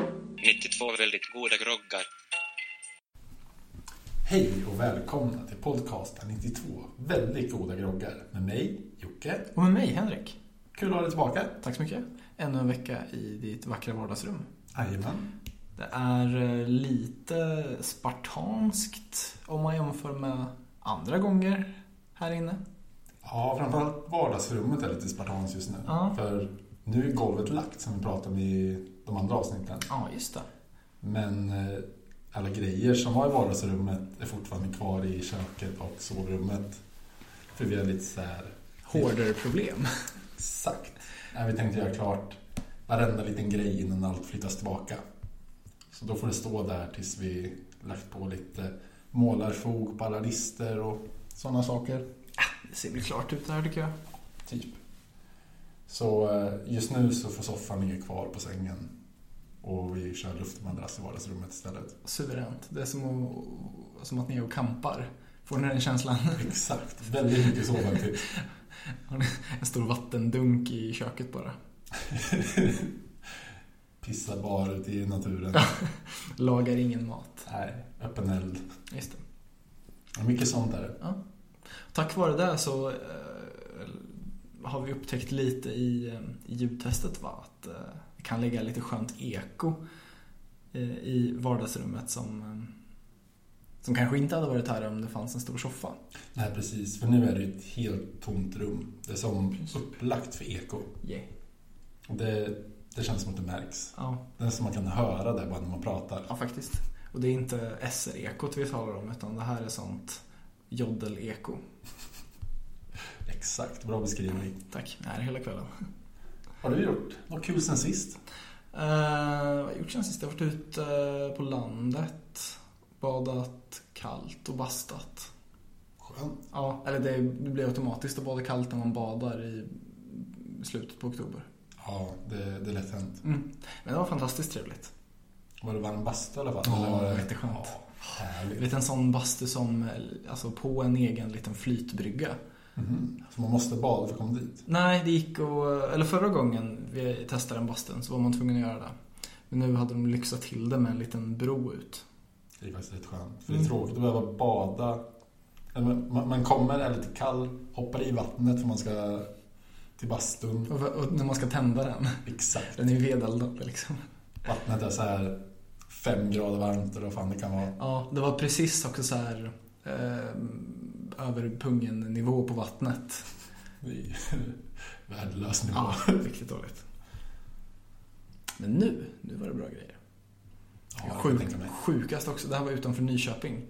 92 väldigt goda groggar. Hej och välkomna till podcasten 92 Väldigt goda groggar med mig, Jocke. Och med mig, Henrik. Kul att ha dig tillbaka. Tack så mycket. Ännu en vecka i ditt vackra vardagsrum. Jajamän. Det är eh, lite spartanskt om man jämför med andra gånger här inne. Ja, framförallt vardagsrummet är lite spartanskt just nu. Ja. För nu är golvet lagt som vi pratade om i de andra avsnitten. Ja, just det. Men eh, alla grejer som var i vardagsrummet är fortfarande kvar i köket och sovrummet. För vi är lite så här... Hårdare problem. Exakt. Nej, vi tänkte göra klart varenda liten grej innan allt flyttas tillbaka. Så då får det stå där tills vi lagt på lite målarfog på alla lister och sådana saker. Det ser väl klart ut där tycker jag. Typ. Så eh, just nu så får soffan ligga kvar på sängen. Och vi kör luftmadrass i vardagsrummet istället. Suveränt. Det är som att, som att ni är och kampar. Får ni den känslan? Exakt. Väldigt mycket sådant. typ. En stor vattendunk i köket bara. Pissa bara ute i naturen. Lagar ingen mat. Nej, öppen eld. Just det. Mycket sånt är det. Tack vare det så eh, har vi upptäckt lite i, eh, i ljudtestet va? att eh, vi kan lägga lite skönt eko eh, i vardagsrummet som, eh, som kanske inte hade varit här om det fanns en stor soffa. Nej, precis. För nu är det ju ett helt tomt rum. Det är som Precis. upplagt för eko. Yeah. Och det, det känns som att det märks. Ja, Det är som man kan höra det bara när man pratar. ja, faktiskt. Och det är inte SR-ekot vi talar om utan det här är sånt joddel-eko. Exakt, bra beskrivning. Tack, det här är hela kvällen. Har du gjort något kul sen sist? Eh, vad har jag gjort sen sist? Jag har varit ute eh, på landet, badat kallt och bastat. Skönt. Ja, eller det blir automatiskt att bada kallt när man badar i slutet på oktober. Ja, det, det är lätt hänt. Men det var fantastiskt trevligt. Var det varm bastu i alla fall? Ja, eller var det var jätteskönt. Ja, Du härligt. vet en sån bastu som, eh, alltså på en egen liten flytbrygga. Mhm. Så man måste bada för att komma dit? Nej, det gick och, eller förra gången vi testade den bastun så var man tvungen att göra det. Men nu hade de lyxat till det med en liten bro ut. Det är faktiskt rätt skönt. För det är Mm. tråkigt att behöva bada. Eller Man, man- man kommer, är lite kall, hoppar i vattnet för man ska till bastun. Och, och när man ska tända den, Exakt. den är ju vedeldad liksom. Vattnet är så här fem grader varmt eller vad fan det kan vara. Ja, det var precis också så här eh, över pungen nivå på vattnet. Det är Värdelös nivå. Ja, riktigt dåligt. Men nu, nu var det bra grejer. Ja, jag kan Sjuk, tänka mig. sjukast också, det här var utanför Nyköping.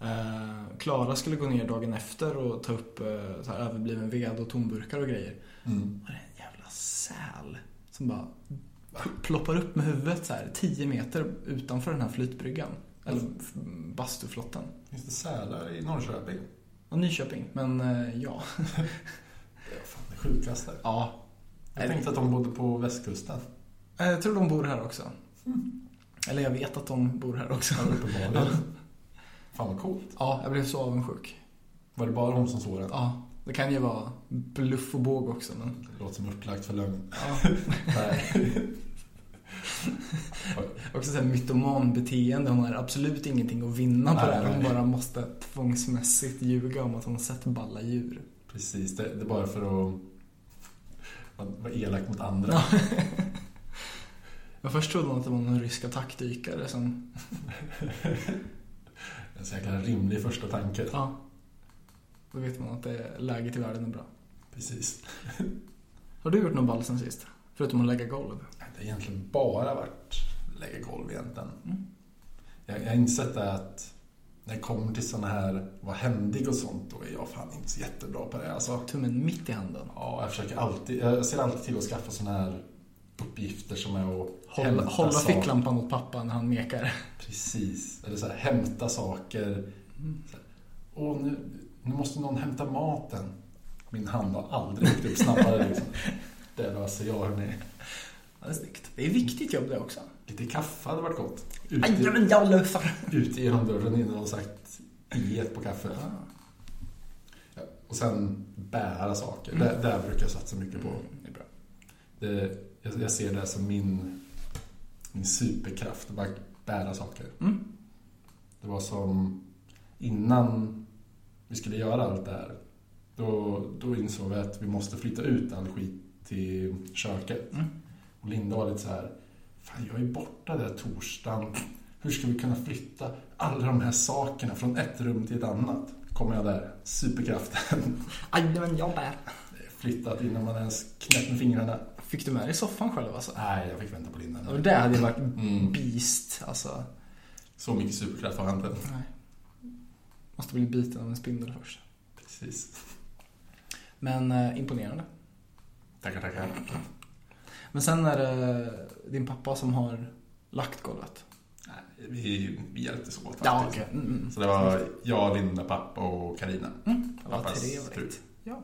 Eh, Klara skulle gå ner dagen efter och ta upp eh, så här överbliven ved och tomburkar och grejer. Mm. Och det är en jävla säl som bara ploppar upp med huvudet så här 10 meter utanför den här flytbryggan. Eller Mm. f- bastuflotten. Finns det sälar i Norrköping? Ja, Nyköping, men eh, ja. Det är fan det sjukaste. ja. Jag tänkte att de bodde på västkusten. Eh, Jag tror de bor här också. Eller jag vet att de bor här också. Mm. Ja, Uppenbarligen. Fan vad coolt. Ja, jag blev så avundsjuk. Var det bara hon som såg den? Ja, det kan ju vara bluff och båg också, men Det låter som urtlagt för lögn. ja. Nej. också såhär mytomanbeteende. Hon har absolut ingenting att vinna på Nej, det här. Hon nej. bara måste tvångsmässigt ljuga om att hon sett balla djur. Precis, det, det är bara för att vara elak mot andra. Ja. Jag först trodde hon att det var någon rysk attackdykare som... En så jäkla rimlig första tanke. Ja. Då vet man att det är läget i världen är bra. Precis. Har du gjort någon ball sen sist? Förutom att lägga golv? Det har egentligen bara varit lägga golv egentligen. Mm. Jag, jag har insett det att när det kommer till sådana här, vad händig och sånt, då är jag fan inte så jättebra på det. Alltså, Tummen mitt i handen. ja, jag, försöker alltid, jag ser alltid till att skaffa sådana här uppgifter som är att Hålla, hämta hålla saker. ficklampan åt pappa när han mekar. Precis. Eller så här, hämta saker. Mm. Så här, Åh, nu, nu måste någon hämta maten. Min hand har aldrig åkt upp snabbare. Liksom. Det löser jag, hörni. Ja, det är snyggt. Det är viktigt jobb det också. Lite kaffe hade varit gott. Aj, Ute, ja, men jag löser! ute genom dörren innan de sagt iet på kaffet. Ah. Ja, och sen bära saker. Det, det här brukar jag satsa mycket på. Det är bra. Det, jag, jag ser det som min min superkraft att bara bära saker. Mm. Det var som innan vi skulle göra allt det här. Då, då insåg vi att vi måste flytta ut all skit till köket. Mm. Och Linda var lite så här, fan jag är borta där torsdagen. Hur ska vi kunna flytta alla de här sakerna från ett rum till ett annat? Kommer jag där, superkraften, Aj, men jag bär. flyttat innan man ens knäppt med fingrarna. Fick du med dig soffan själv alltså? Nej, jag fick vänta på Linda. Och det hade ju varit Mm. beast alltså. Så mycket superkraft har jag inte. Nej. Måste bli biten av en spindel först. Precis. Men eh, imponerande. Tackar, tackar. Men sen är det din pappa som har lagt golvet. Nej, vi, vi hjälptes åt faktiskt. Mm, mm. Så det var jag, Linda, pappa och Karina. Mm, vad Pappas fru. trevligt. Ja.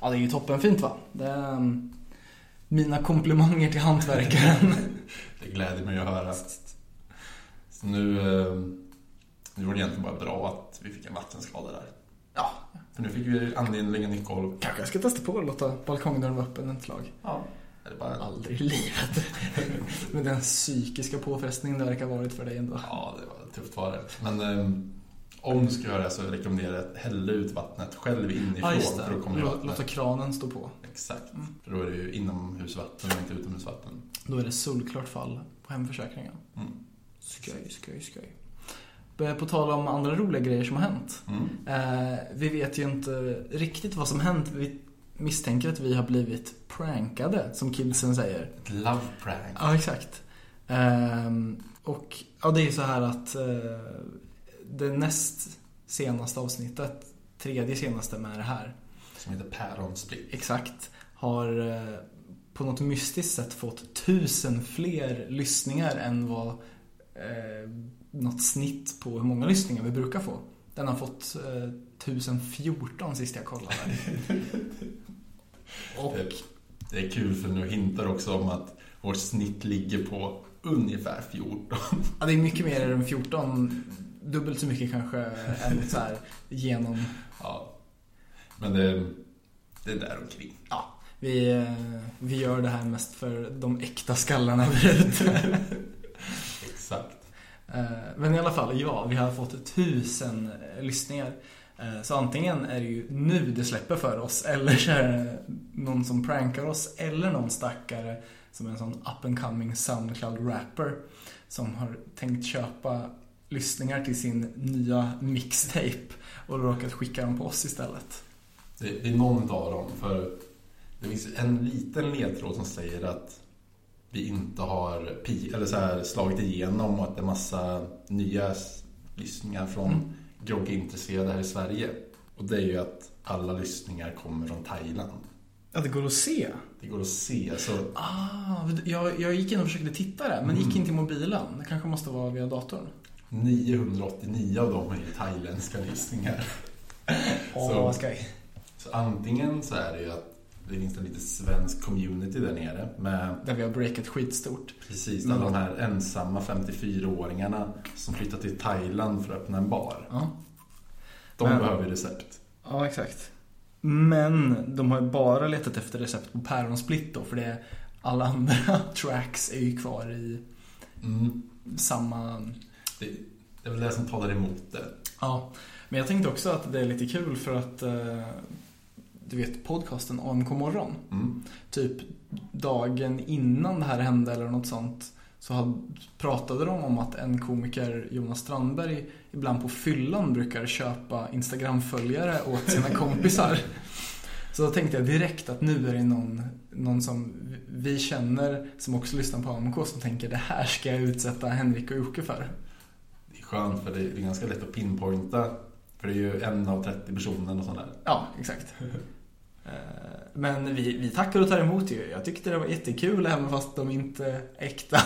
ja, det är ju toppenfint va? Det är, mm, mina komplimanger till hantverkaren. Det gläder mig att höra. Så nu, eh, nu var det egentligen bara bra att vi fick en vattenskada där. ja, För nu fick vi anledning att lägga nytt golv. kanske jag ska testa på att låta balkongdörren vara öppen ett slag. Ja. Eller bara, Aldrig i livet. Men den psykiska påfrestningen det verkar ha varit för dig ändå. ja, det var tufft var det. Men eh, om du ska göra det så rekommenderar jag att hälla ut vattnet själv inifrån. För då kommer det Mm. Lå- vattnet. Låta kranen stå på. Exakt. För då är det ju inomhusvatten och inte utomhusvatten. Då är det solklart fall på hemförsäkringen. Mm. Skoj, skoj, skoj. Eh, På tal om andra roliga grejer som har hänt. Mm. Eh, vi vet ju inte riktigt vad som hänt. Vi misstänker att vi har blivit prankade, som kidsen säger. Ett love prank. Ja, exakt. Ehm, och ja, det är ju så här att eh, det näst senaste avsnittet, tredje senaste med det här, Som heter Päronsplitt. exakt, har eh, på något mystiskt sätt fått tusen fler lyssningar än vad eh, något snitt på hur många lyssningar vi brukar få. Den har fått eh, 1014 sist jag kollade. Och Typ. Det är kul för nu hintar också om att vårt snitt ligger på ungefär 14. ja, det är mycket mer än 14, dubbelt så mycket kanske än så här genom Ja. Men det, det är där omkring. Ja, vi, eh, vi gör det här mest för de äkta skallarna vi är ute. Exakt. Eh, Men i alla fall, ja, vi har fått tusen eh, lyssningar. Eh, Så antingen är det ju nu det släpper för oss, eller så är det någon som prankar oss, eller någon stackare som är en sån up and coming Soundcloud-rapper som har tänkt köpa lyssningar till sin nya mixtape och råkat skicka dem på oss istället. Det, det är någon av dem, för det finns en liten ledtråd som säger att vi inte har pi, eller så här, slagit igenom och att det är massa nya s- lyssningar från Mm. groggintresserade här i Sverige. Och det är ju att alla lyssningar kommer från Thailand. Ja, det går att se. Det går att se, så Ah, jag, jag gick in och försökte titta där, men gick in till mobilen. Det kanske måste vara via datorn. 989 av dem är ju thailändska lyssningar. Så- Ah, vad skoj. Så antingen så är det ju att det finns en lite svensk community där nere med Där vi har breakat skitstort. precis alla de här ensamma 54-åringarna som flyttat till Thailand för att öppna en bar. Ja, De Men- behöver ju recept. ja exakt. Men de har ju bara letat efter recept på päronsplitt då, för det alla andra tracks är ju kvar i Mm. samma... Det, det är väl det som talar emot det. Ja, men jag tänkte också att det är lite kul för att eh, du vet podcasten AMK morgon. Mm. typ dagen innan det här hände eller något sånt så had- pratade de om att en komiker, Jonas Strandberg, ibland på fyllan brukar köpa Instagram-följare åt sina kompisar. Så då tänkte jag direkt att nu är det någon, någon som vi känner som också lyssnar på AMK som tänker det här ska jag utsätta Henrik och Jocke för. Det är skönt för det det är ganska lätt att pinpointa. För det är ju en av 30 personer och sånt där. Ja, exakt. Eh, Men vi, vi tackar och tar emot ju. Jag tyckte det var jättekul även fast de inte är äkta.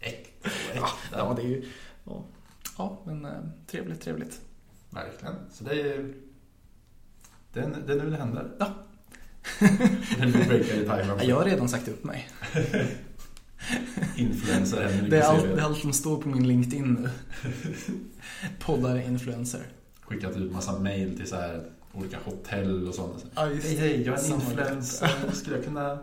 Äkta och Ja, äkta. ja, det är ju... Ja, ja men eh, trevligt, trevligt. Verkligen. Så det är, det är, det är nu det händer. Ja. det är nu breakar i Thailand. Jag har redan sagt upp mig. Influencer Henrik Det är, på allt, CV. det är allt som står på min LinkedIn nu. Poddare, influencer. Skickat ut massa mail till så här olika hotell och sånt. Ja, Hej hej, jag är en Samarbete. influencer. Skulle jag kunna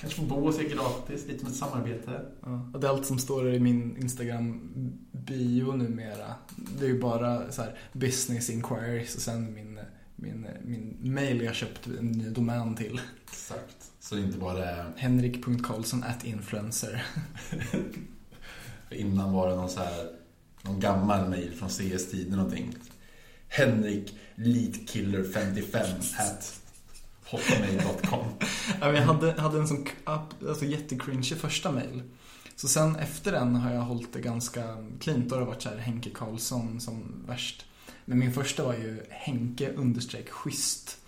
Kanske få bås är gratis, lite som ett samarbete. Ja. Och det är allt som står i min Instagram-bio numera. Det är ju bara så här business inquiries och sen min, min, min mail jag köpt en ny domän till. Exakt. Så det inte bara är... Henrik.Karlsson at influencer. för Innan var det någon så här... Någon gammal mail från CS-tiden någonting. Henrik Leadkiller55 at hotmail.com. Ja, men Jag hade, hade en sån k- app- alltså jättecringe första mail. Så sen efter den har jag hållit det ganska cleant. Då har det varit så här Henke Karlsson som värst. Men min första var ju Henke understreck schysst.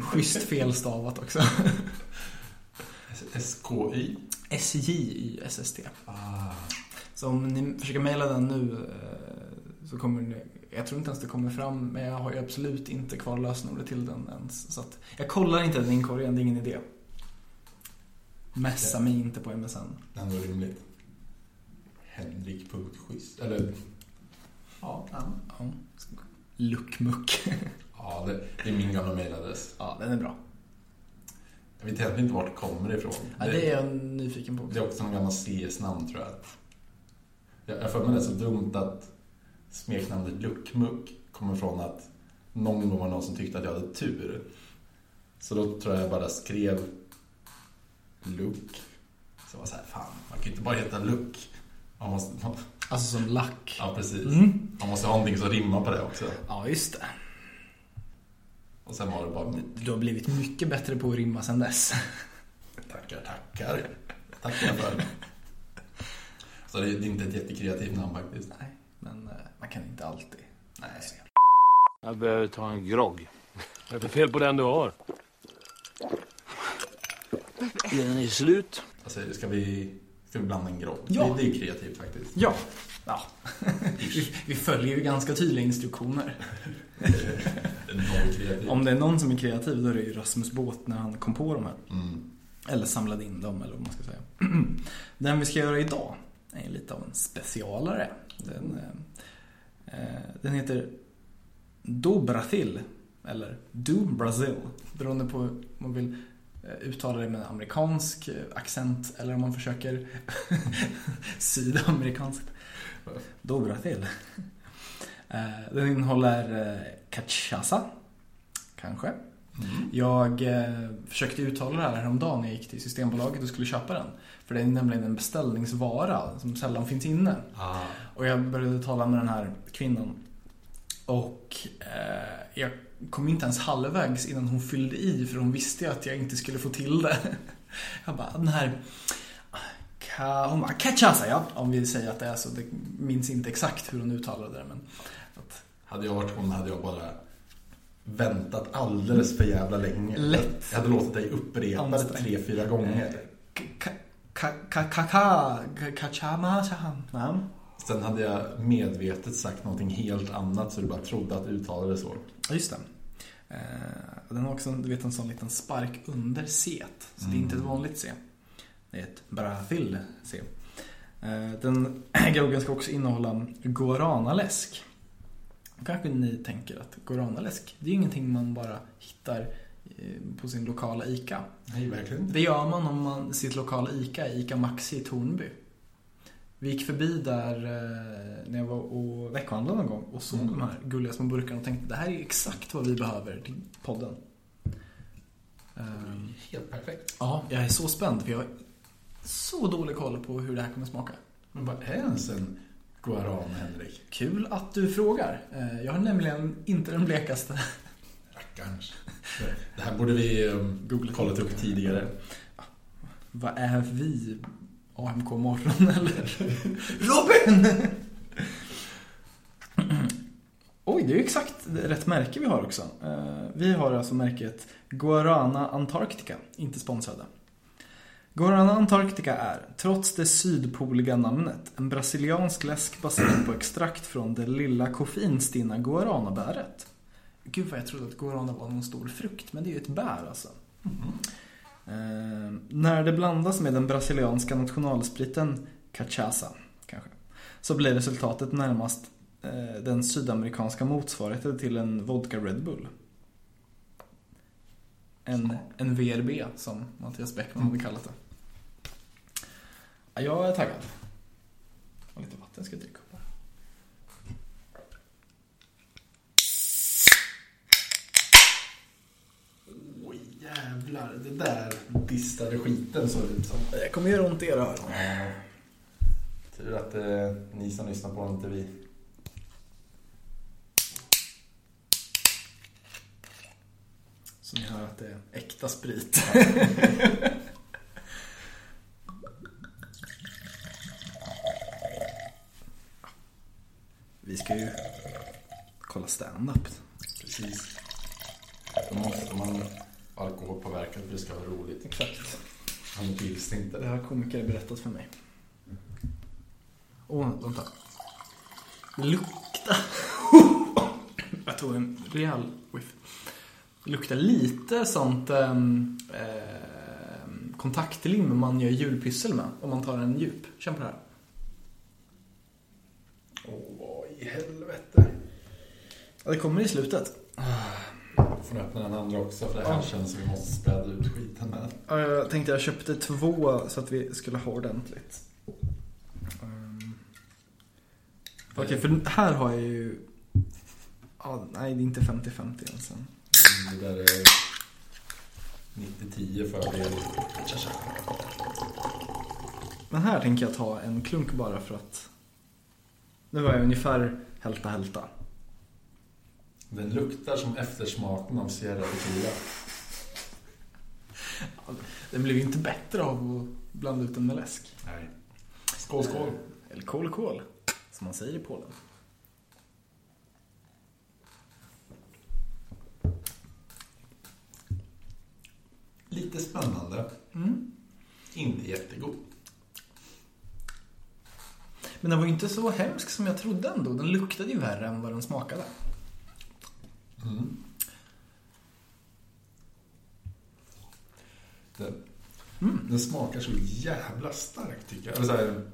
schysst felstavat också. SKY. SJYSST. Ah. Så om ni försöker mejla den nu eh, så kommer ni, jag tror inte ens det kommer fram, men jag har ju absolut inte kvar lösenordet till den ens. Så att jag kollar inte den inkorgen, det är ingen idé. Messa mig inte på MSN. Det är ändå rimligt. Henrik.schysst. Eller... Ja, han. Ja. Luckmuck. ja det, det är min gamla mailadress. Ja, den är bra. Jag vet egentligen inte vart det kommer ifrån. Ja, det är jag nyfiken på det också. är också någon gammal CS-namn tror jag. Jag jag har för mig det är så dumt att smeknamnet Luckmuck kommer från att någon gång var någon som tyckte att jag hade tur. Så då tror jag jag bara skrev Luck. Så jag var så här, fan, man kan ju inte bara heta Luck. Man måste, Alltså som lack. ja, precis. Mm. Man måste ha någonting som rimmar på det också. Ja, just det. Och sen var det bara Du har blivit mycket bättre på att rimma sen dess. Tackar, tackar. Tackar för. Så det är det är inte ett jättekreativt namn faktiskt. Nej, men eh, man kan inte alltid. Nej. Jag behöver ta en grogg. Vad är det för fel på den du har? Den är slut. Alltså, ska vi, ska vi blanda en grogg? Ja. Det, det är kreativt faktiskt. Ja. ja. vi, vi följer ju ganska tydliga instruktioner. Det är noll kreativt. Om det är någon som är kreativ då är det ju Rasmus Båt när han kom på de här. Mm. Eller samlade in dem eller vad man ska säga. Den vi ska göra idag är lite av en specialare. Den, eh, eh, den heter Do Brasil. Eller Do Brazil. Beroende på hur man vill eh, uttala det med en amerikansk eh, accent eller om man försöker sydamerikanskt. Do Brasil. Eh, Den innehåller eh, cachaça. Kanske. Mm. Jag eh, försökte uttala det här häromdagen när jag gick till Systembolaget och skulle köpa den. För det är nämligen en beställningsvara som sällan finns inne. Ah, Och jag började tala med den här kvinnan. Och eh, jag kom inte ens halvvägs innan hon fyllde i för hon visste ju att jag inte skulle få till det. Jag bara, den här... Ka, hon bara, cachaça ja. Om vi säger att det är så. Det minns inte exakt hur hon uttalade det men. Att, hade jag varit hon hade jag bara väntat alldeles för jävla länge. Lätt. Jag hade låtit dig upprepa det Ansträng. tre, fyra gånger. ka- ka- ka- ka- ka- ka- kachama, chaham. Ja. Sen hade jag medvetet sagt någonting helt annat så du bara trodde att du uttalade så. Ja, just det. Eh, och den har också du vet, en sån liten spark under C. Så det är inte ett vanligt C. Det är ett Brasil C. Eh, den groggen ska också innehålla guaranaläsk. Kanske ni tänker att guaranaläsk, det är ju ingenting man bara hittar eh, på sin lokala ICA. Nej, verkligen inte. Det gör man om man sitt lokala ICA, ICA Maxi i Tornby. Vi gick förbi där eh, när jag var och veckohandlade någon gång och såg de här gulliga små burkarna och tänkte det här är exakt vad vi behöver till podden. Ehm, Helt perfekt. Ja, jag är så spänd för jag har så dålig koll på hur det här kommer smaka. Men vad är ens en guaran, Henrik? Kul att du frågar. Eh, Jag har nämligen inte den blekaste. Rackarns. Det här borde vi um, kollat upp tidigare. Vad är vi? AMK morgon eller? Robin! Oj, det är ju exakt rätt märke vi har också. Eh, Vi har alltså märket Guarana Antarctica, inte sponsrade. Guarana Antarctica är, trots det sydpoliga namnet, en brasiliansk läsk baserad på extrakt från det lilla koffeinstinna guaranabäret. Gud vad jag trodde att guarana var någon stor frukt, men det är ju ett bär alltså. Eh, när det blandas med den brasilianska nationalspriten cachaça, kanske, så blir resultatet närmast eh, den sydamerikanska motsvarigheten till en vodka Red Bull. En, en VRB som Mattias Bäckman hade kallat det. Ja, Jag är taggad. Och lite vatten ska jag dricka upp här. Oj jävlar, det där distade skiten såg det ut som. Det kommer göra ont i era öron. Tur att eh, ni som lyssnar på det inte vi. Så ni hör att det är äkta sprit. Vi ska ju kolla stand-up. Precis. Då måste man vara alkoholpåverkad för det ska vara roligt. Exakt. Han gills inte. Det har komiker berättat för mig. Åh, vänta. Det luktar... Jag tog en rejäl whiff. Det luktar lite sånt ehm, ehm, kontaktlim man gör julpyssel med om man tar en djup. Känn på det här. Åh, vad i helvete. Ja, det kommer i slutet. Får ni öppna den andra också för det här känns som vi måste späda ut skiten med. Ja, Jag tänkte jag köpte två så att vi skulle ha ordentligt. Ehm. Okej, för här har jag ju... Ja, nej, det är inte alltså. 50-50 ens. Mm, Det där är 90-10 fördel. Tja, tja. Men här tänker jag ta en klunk bara för att... Nu var jag ungefär hälta hälta. Den luktar som eftersmaken av Sierra Tequila. Den blev ju inte bättre av att blanda ut den med läsk. Nej. Skål, skål. Eller kol kol, som man säger i Polen. Lite spännande. Mm. Inte jättegod. Men den var ju inte så hemsk som jag trodde ändå. Den luktade ju värre än vad den smakade. Mm. Den, den smakar så jävla starkt tycker jag. Eller så här,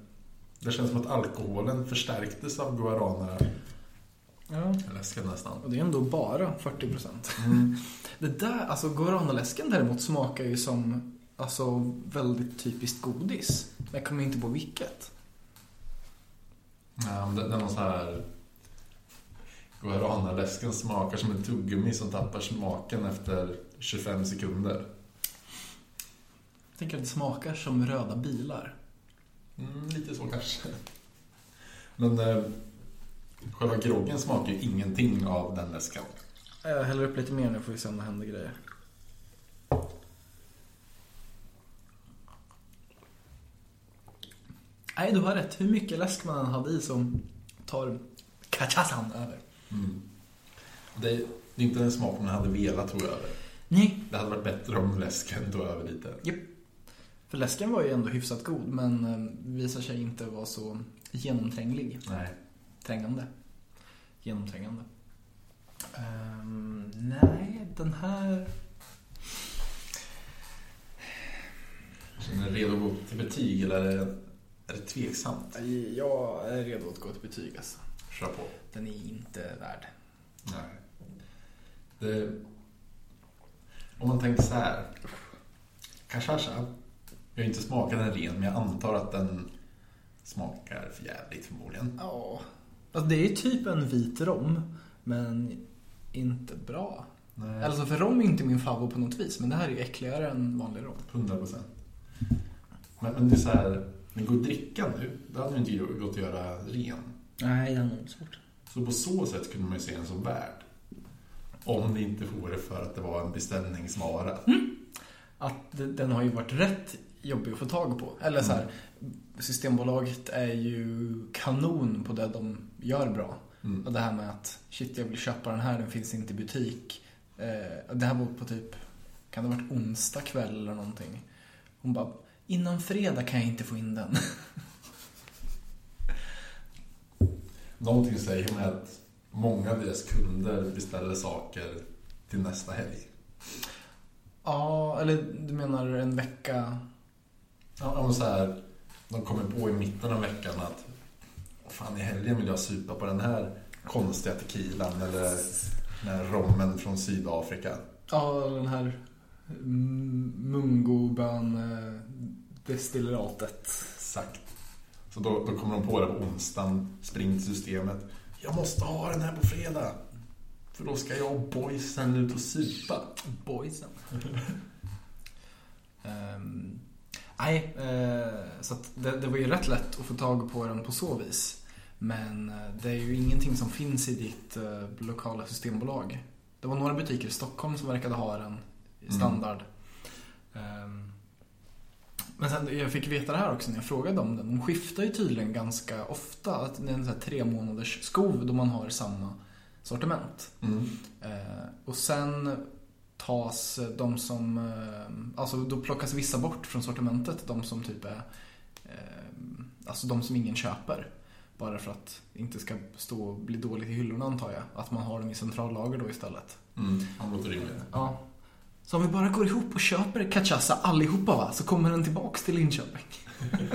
det känns som att alkoholen förstärktes av guarana. Ja. Läsken nästan. Och det är ändå bara 40 procent. Mm. Det där, alltså guaranaläsken däremot smakar ju som alltså, väldigt typiskt godis. Men jag kommer inte på vilket. Ja, men den, den har så här... Guarana-läsken smakar som en tuggummi som tappar smaken efter 25 sekunder. Jag tänker att det smakar som röda bilar. Mm, lite så kanske. Men eh, själva groggen smakar ju ingenting av den läsken. Jag häller upp lite mer nu får vi se om det händer grejer. Nej, du har rätt. Hur mycket läsk man än hade i som tar kachasan över. Mm. Det, det är inte den smaken man hade velat tro över. Nej, Det hade varit bättre om läsken tog över lite. Japp. För läsken var ju ändå hyfsat god men eh, visar sig inte vara så genomtränglig. Nej. Trängande. Genomträngande. Ehm, nej, den här... Känner du redo att gå till betyg eller är det, är det tveksamt? Jag är redo att gå till betyg alltså. Kör på. Den är inte värd. Nej. Det, om man tänker så här. Cachacha. Jag har inte smakat den ren, men jag antar att den smakar för jävligt förmodligen. Ja. Alltså, det är ju typ en vit rom, men inte bra. Nej. Alltså för rom är inte min favorit på något vis, men det här är ju äckligare än vanlig rom. 100 procent. Men, men det är så här, den går att dricka nu. Det hade ju inte gått att göra ren. Nej, den är svårt. Så på så sätt kunde man ju se den som värd. Om det inte vore för att det var en beställningsvara. att de- den har ju varit rätt jobbig att få tag på. Eller så här, Systembolaget är ju kanon på det de gör bra. Mm. Och det här med att shit, jag vill köpa den här, den finns inte i butik. Eh, och det här var på typ, kan det ha varit onsdag kväll eller någonting? Hon bara, innan fredag kan jag inte få in den. Någonting säger mig att många av deras kunder beställer saker till nästa helg. ja, eller du menar en vecka? Ja, Om så här, de kommer på i mitten av veckan att "Vad fan i helgen vill jag supa på den här konstiga tequilan eller den här rommen från Sydafrika. Ja, den här mm, m- mungobön-destillatet. Exakt. Så då, då kommer de på det på onsdagen, springer till systemet. Jag måste ha den här på fredag. För då ska jag och boysen ut och supa. Boysen. Ehm, nej, eh, så att det, det var ju rätt lätt att få tag på den på så vis. Men eh, det är ju ingenting som finns i ditt eh, lokala systembolag. Det var några butiker i Stockholm som verkade ha den i Mm. standard. Ehm, men sen, jag fick veta det här också när jag frågade om den. De skiftar ju tydligen ganska ofta. Att det är en sån här tre månaders skov då man har samma sortiment. Mm. Eh, och sen tas de som, eh, alltså då plockas vissa bort från sortimentet. De som typ är, eh, alltså de som ingen köper. Bara för att det inte ska stå och bli dåligt i hyllorna antar jag. Att man har dem i centrallager då istället. Mm. Han låter rimligt. Ja. Så om vi bara går ihop och köper cachaça allihopa va, så kommer den tillbaks till Linköping.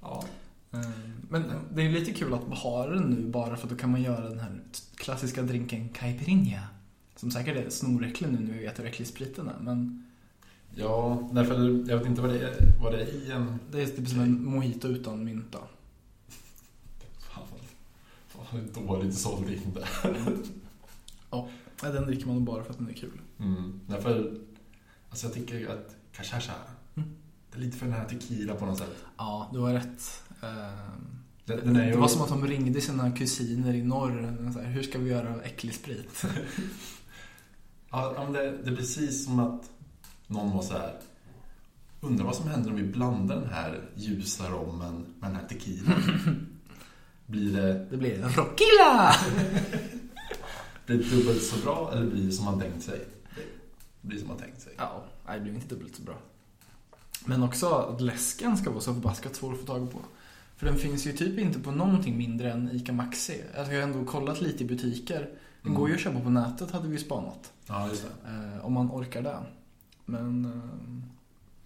Ja. Eh, Men det är lite kul att ha den nu bara för att då kan man göra den här klassiska drinken caipirinha. Som säkert är snoräcklig nu när vi vet hur äcklig spriten är. Men Ja, därför, jag vet inte vad det är, vad det är i en... det är typ som en mojito utan mynta. Fan, vad- vad en dåligt såld vin där. Ja, Den dricker man bara för att den är kul. Mm. Därför, alltså jag tycker att cachacha, Mm. det är lite för den här tequila på något sätt. Ja, du har rätt. Eh, Den, den är ju... Det var som att de ringde sina kusiner i norr. Så här, Hur ska vi göra äcklig sprit? Ja, ja, men det, det är precis som att någon var så här. Undrar vad som händer om vi blandar den här ljusa rommen med den här tequilan. Blir det, Det blir rockilla! blir det dubbelt så bra eller blir det som man tänkt sig? Det blir som man tänkt sig. Ja, nej, det blev inte dubbelt så bra. Men också att läsken ska vara så förbaskat svår att få tag på. För den finns ju typ inte på någonting mindre än ICA Maxi. Alltså jag har ändå kollat lite i butiker. Den Mm. går ju att köpa på nätet hade vi ju spanat. Ja, just det. Eh, om man orkar det. Men eh,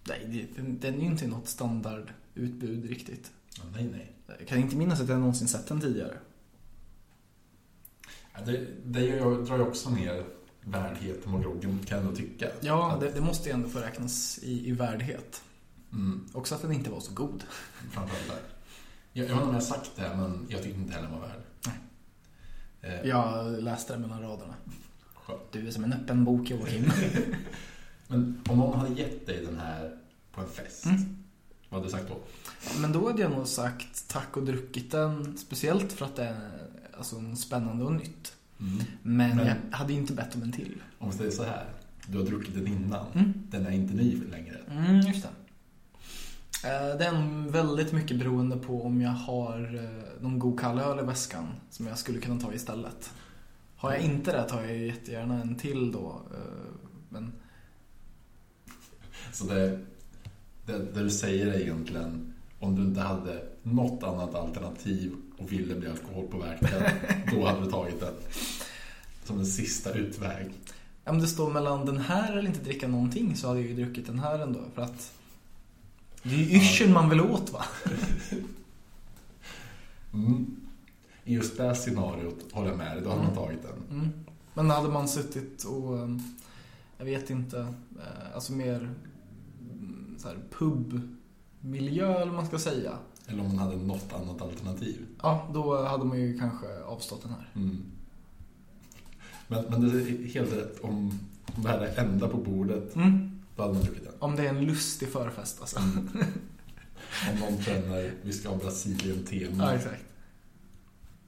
nej, det- den, den är ju inte något standardutbud riktigt. Ja, nej, nej. Jag kan inte minnas att jag någonsin sett den tidigare. Ja, det det gör jag, drar ju också ner värdheten och groggen kan jag ändå tycka. Ja, Att- det, det måste ju ändå få räknas i, i värdighet. Mm, Också att den inte var så god. framförallt där. Jag, jag vet inte om jag har sagt det, men jag tycker inte heller den var värd. Nej. Eh, Jag läste det mellan raderna. skönt. Du är som en öppen bok Joakim. Men om någon hade gett dig den här på en fest, Mm. vad hade du sagt då? Men då hade jag nog sagt tack och druckit den. Speciellt för att det är alltså, spännande och nytt. Men, Men- jag hade inte bett om en till. Om vi säger så här, du har druckit den innan, Mm. den är inte ny längre. Mm, just det. Eh, Det är nog väldigt mycket beroende på om jag har eh, någon god kallöl i väskan som jag skulle kunna ta istället. Har jag inte det tar jag ju jättegärna en till då. eh, Men Så det, det, det du säger är egentligen, om du inte hade något annat alternativ och ville bli alkoholpåverkad, då hade du tagit den. Som en sista utväg. Ja, Om det står mellan den här eller inte dricka någonting så hade jag ju druckit den här ändå. För att det är ju yrseln man vill åt va? Mm. I just det här scenariot håller jag med dig, då hade man Mm. tagit den. Mm. Men hade man suttit och, eh, jag vet inte, eh, alltså mer mm, så här, pubmiljö eller vad man ska säga. Eller om man hade något annat alternativ. Ja, då hade man ju kanske avstått den här. Mm. Men, men det är helt rätt, om, om det här är det enda på bordet, Mm. då hade man druckit den. Om det är en lustig förfest alltså. Om någon känner vi ska ha Ja, Brasilien-tema exakt.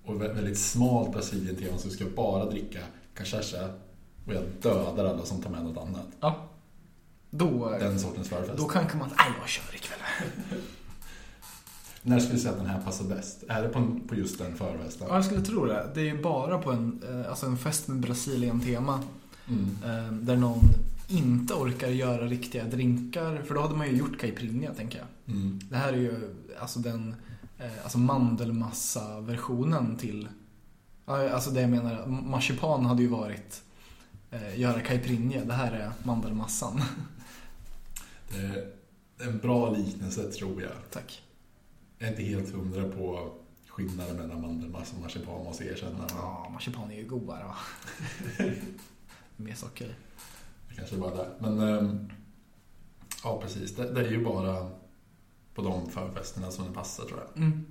och vä- väldigt smalt Brasilien-tema så vi ska bara dricka cachaça och jag dödar alla som tar med något annat. Ja. Då, Den sortens då förfest. kanske man, nej jag kör ikväll. När skulle du säga att den här passar bäst? Är det på, en- på just den förfesten? Ja, jag skulle tro det. Det är ju bara på en, eh, alltså en fest med Brasilien-tema. Mm. eh, Där någon inte orkar göra riktiga drinkar. För då hade man ju gjort caipirinha, tänker jag. Mm. Det här är ju alltså den eh, alltså mandelmassa-versionen till... Ja, Alltså det jag menar, marsipan hade ju varit eh, göra caipirinha. Det här är mandelmassan. Det är Eh, en bra liknelse tror jag. Tack. Jag är inte helt hundra på skillnaden mellan mandelmassa och marsipan måste jag erkänna. Ja, marsipan är ju godare va? Mer socker i. Jag kanske det var där. Men ehm, ja, precis. Det, det är ju bara på de förfesterna som det passar tror jag. Mm.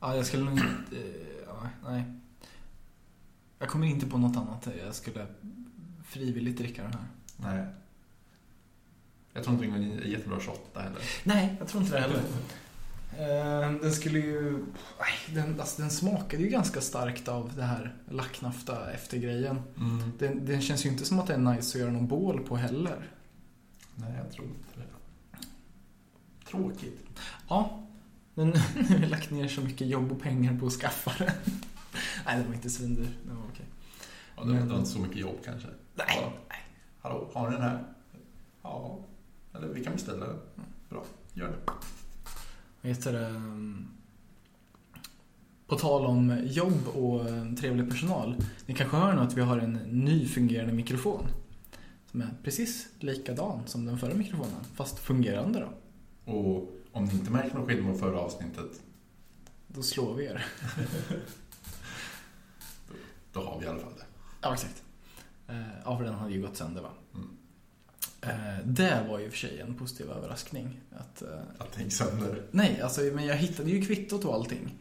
Ja, jag skulle nog inte... eh, Ja, nej. Jag kommer inte på något annat. Jag skulle frivilligt dricka den här. Nej. Jag tror inte det är en jättebra 28 heller. Nej, jag tror inte det heller. Eh, Den skulle ju... Aj, Den, alltså, den smakade ju ganska starkt av det här lacknafta eftergrejen. Mm. Den, den känns ju inte som att det är nice att göra någon bål på heller. Nej, jag tror inte det. Tråkigt. Ja, men nu har vi lagt ner så mycket jobb och pengar på att skaffa den. Nej, den var inte svindyr. Den var okej. Ja, det var inte så mycket jobb kanske. Nej. Ja. Hallå, har ni den här? Ja. Eller vi kan beställa den. Bra, gör det. Vad heter det? ehm, På tal om jobb och eh, trevlig personal. Ni kanske hör nu att vi har en ny fungerande mikrofon. Som är precis likadan som den förra mikrofonen, fast fungerande då. Och om ni inte märker någon skillnad mot förra avsnittet, Då slår vi er. då har vi i alla fall det. Ja, exakt. Eh, Ja, för den hade ju gått sönder va? Mm. Eh, Det var ju i och för sig en positiv överraskning. Att, eh, Att det gick sönder. Nej, alltså, men jag hittade ju kvittot och allting.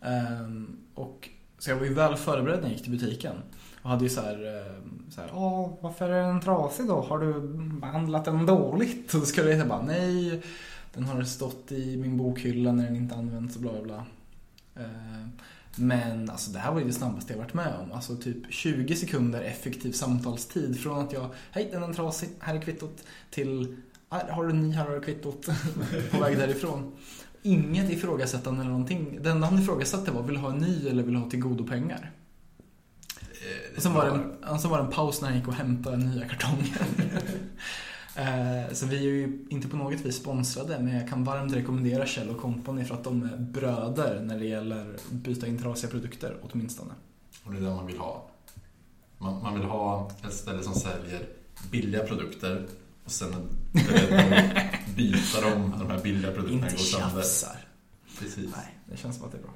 Ehm, och, så jag var ju väl förberedd när jag gick till butiken. Och hade ju så här, ehm, så här Åh, varför är den trasig då? Har du behandlat den dåligt? Och då skulle jag heta bara, nej, den har stått i min bokhylla när den inte används och bla bla bla. Ehm, men alltså det här var ju det snabbaste jag varit med om. Alltså typ 20 sekunder effektiv samtalstid från att jag, hej den är trasig, här är kvittot, till, "Här, har du en ny, här har du kvittot, på väg därifrån. Inget ifrågasättande eller någonting. Det enda han ifrågasatte var, vill du ha en ny eller vill du ha till godo pengar? Eh, Och sen var, det en, och sen var det en paus när han gick och hämtade nya kartonger. Eh, Så vi är ju inte på något vis sponsrade men jag kan varmt rekommendera Kjell och Company för att de är bröder när det gäller att byta in trasiga produkter åtminstone. Och det är det man vill ha. Man, man vill ha ett ställe som säljer billiga produkter och sen är beredd att byta dem när de här billiga produkterna Inte går sönder. tjafsar. Precis. Nej, det känns som att det är bra.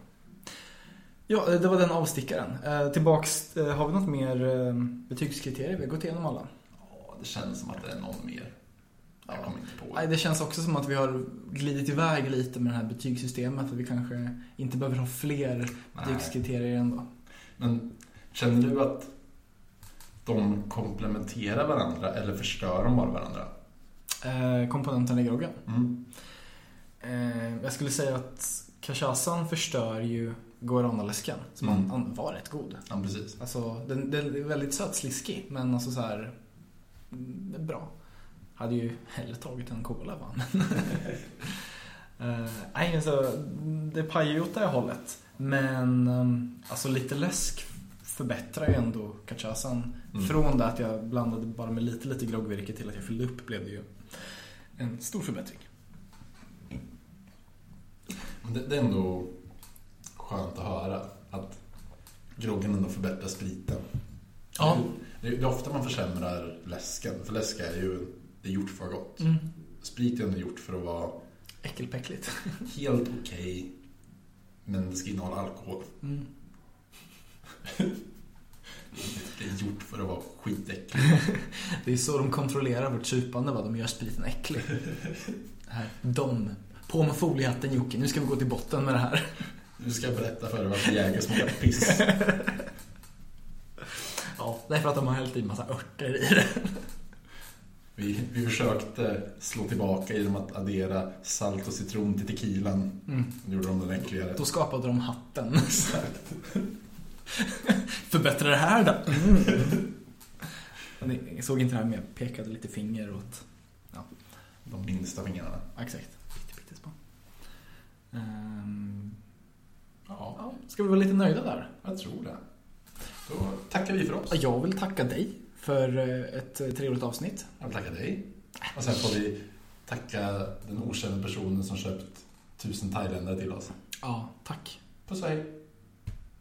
Ja, eh, det var den avstickaren. Eh, Tillbaks, eh, har vi något mer eh, betygskriterier? Vi har gått igenom alla. Ja, det känns som att det är någon mer. Jag kommer inte på Nej, det. det känns också som att vi har glidit iväg lite med det här betygssystemet. Att vi kanske inte behöver ha fler betygskriterier ändå. Men känner du att de komplementerar varandra eller förstör de bara varandra? Eh, komponenterna i groggen. Mm. Eh, jag skulle säga att cachaçan förstör ju guaranalesken. Som Mm. an- var rätt god. Ja, precis. Alltså, den, den är väldigt söt sliskig, men alltså så här mm, det är bra. Hade ju hellre tagit en cola va. Men, Eh, nej, alltså, det pajar ju åt det här hållet. Men ehm, alltså lite läsk förbättrar ju ändå cachaçan. Mm. Från det att jag blandade bara med lite, lite groggvirke till att jag fyllde upp blev det ju en stor förbättring. Men Det, det är ändå skönt att höra att groggen ändå förbättrar spriten. Ja. Det, det är ofta man försämrar läsken, för läsk är ju det är gjort för att vara gott. Mm. Sprit är ändå gjort för att vara Äckelpäckligt. helt okej, men det ska innehålla alkohol. Mm. Det är gjort för att vara skitäckligt. Det är så de kontrollerar vårt supande, va? de gör spriten äcklig. Här, de. På med foliehatten Jocke, nu ska vi gå till botten med det här. Nu ska jag berätta för dig varför Jäger smakar piss. Ja, det är för att de har hällt i massa örter i det. Vi, vi försökte slå tillbaka genom att addera salt och citron till tequilan. Mm. Då gjorde de den äckligare. Då skapade de hatten. Förbättra det här då. Mm. Ni såg inte det här med jag pekade lite finger åt... De minsta fingrarna. Ja, exakt. Pitte, pittesmå. Ehm, Ja, ja, ska vi vara lite nöjda där? jag tror det. Då tackar vi för oss. Ja, Jag vill tacka dig för eh, ett eh, trevligt avsnitt. Jag tackar dig. Och sen får vi tacka den okända personen som köpt tusen thailändare till oss. Ja, tack. Puss och hej.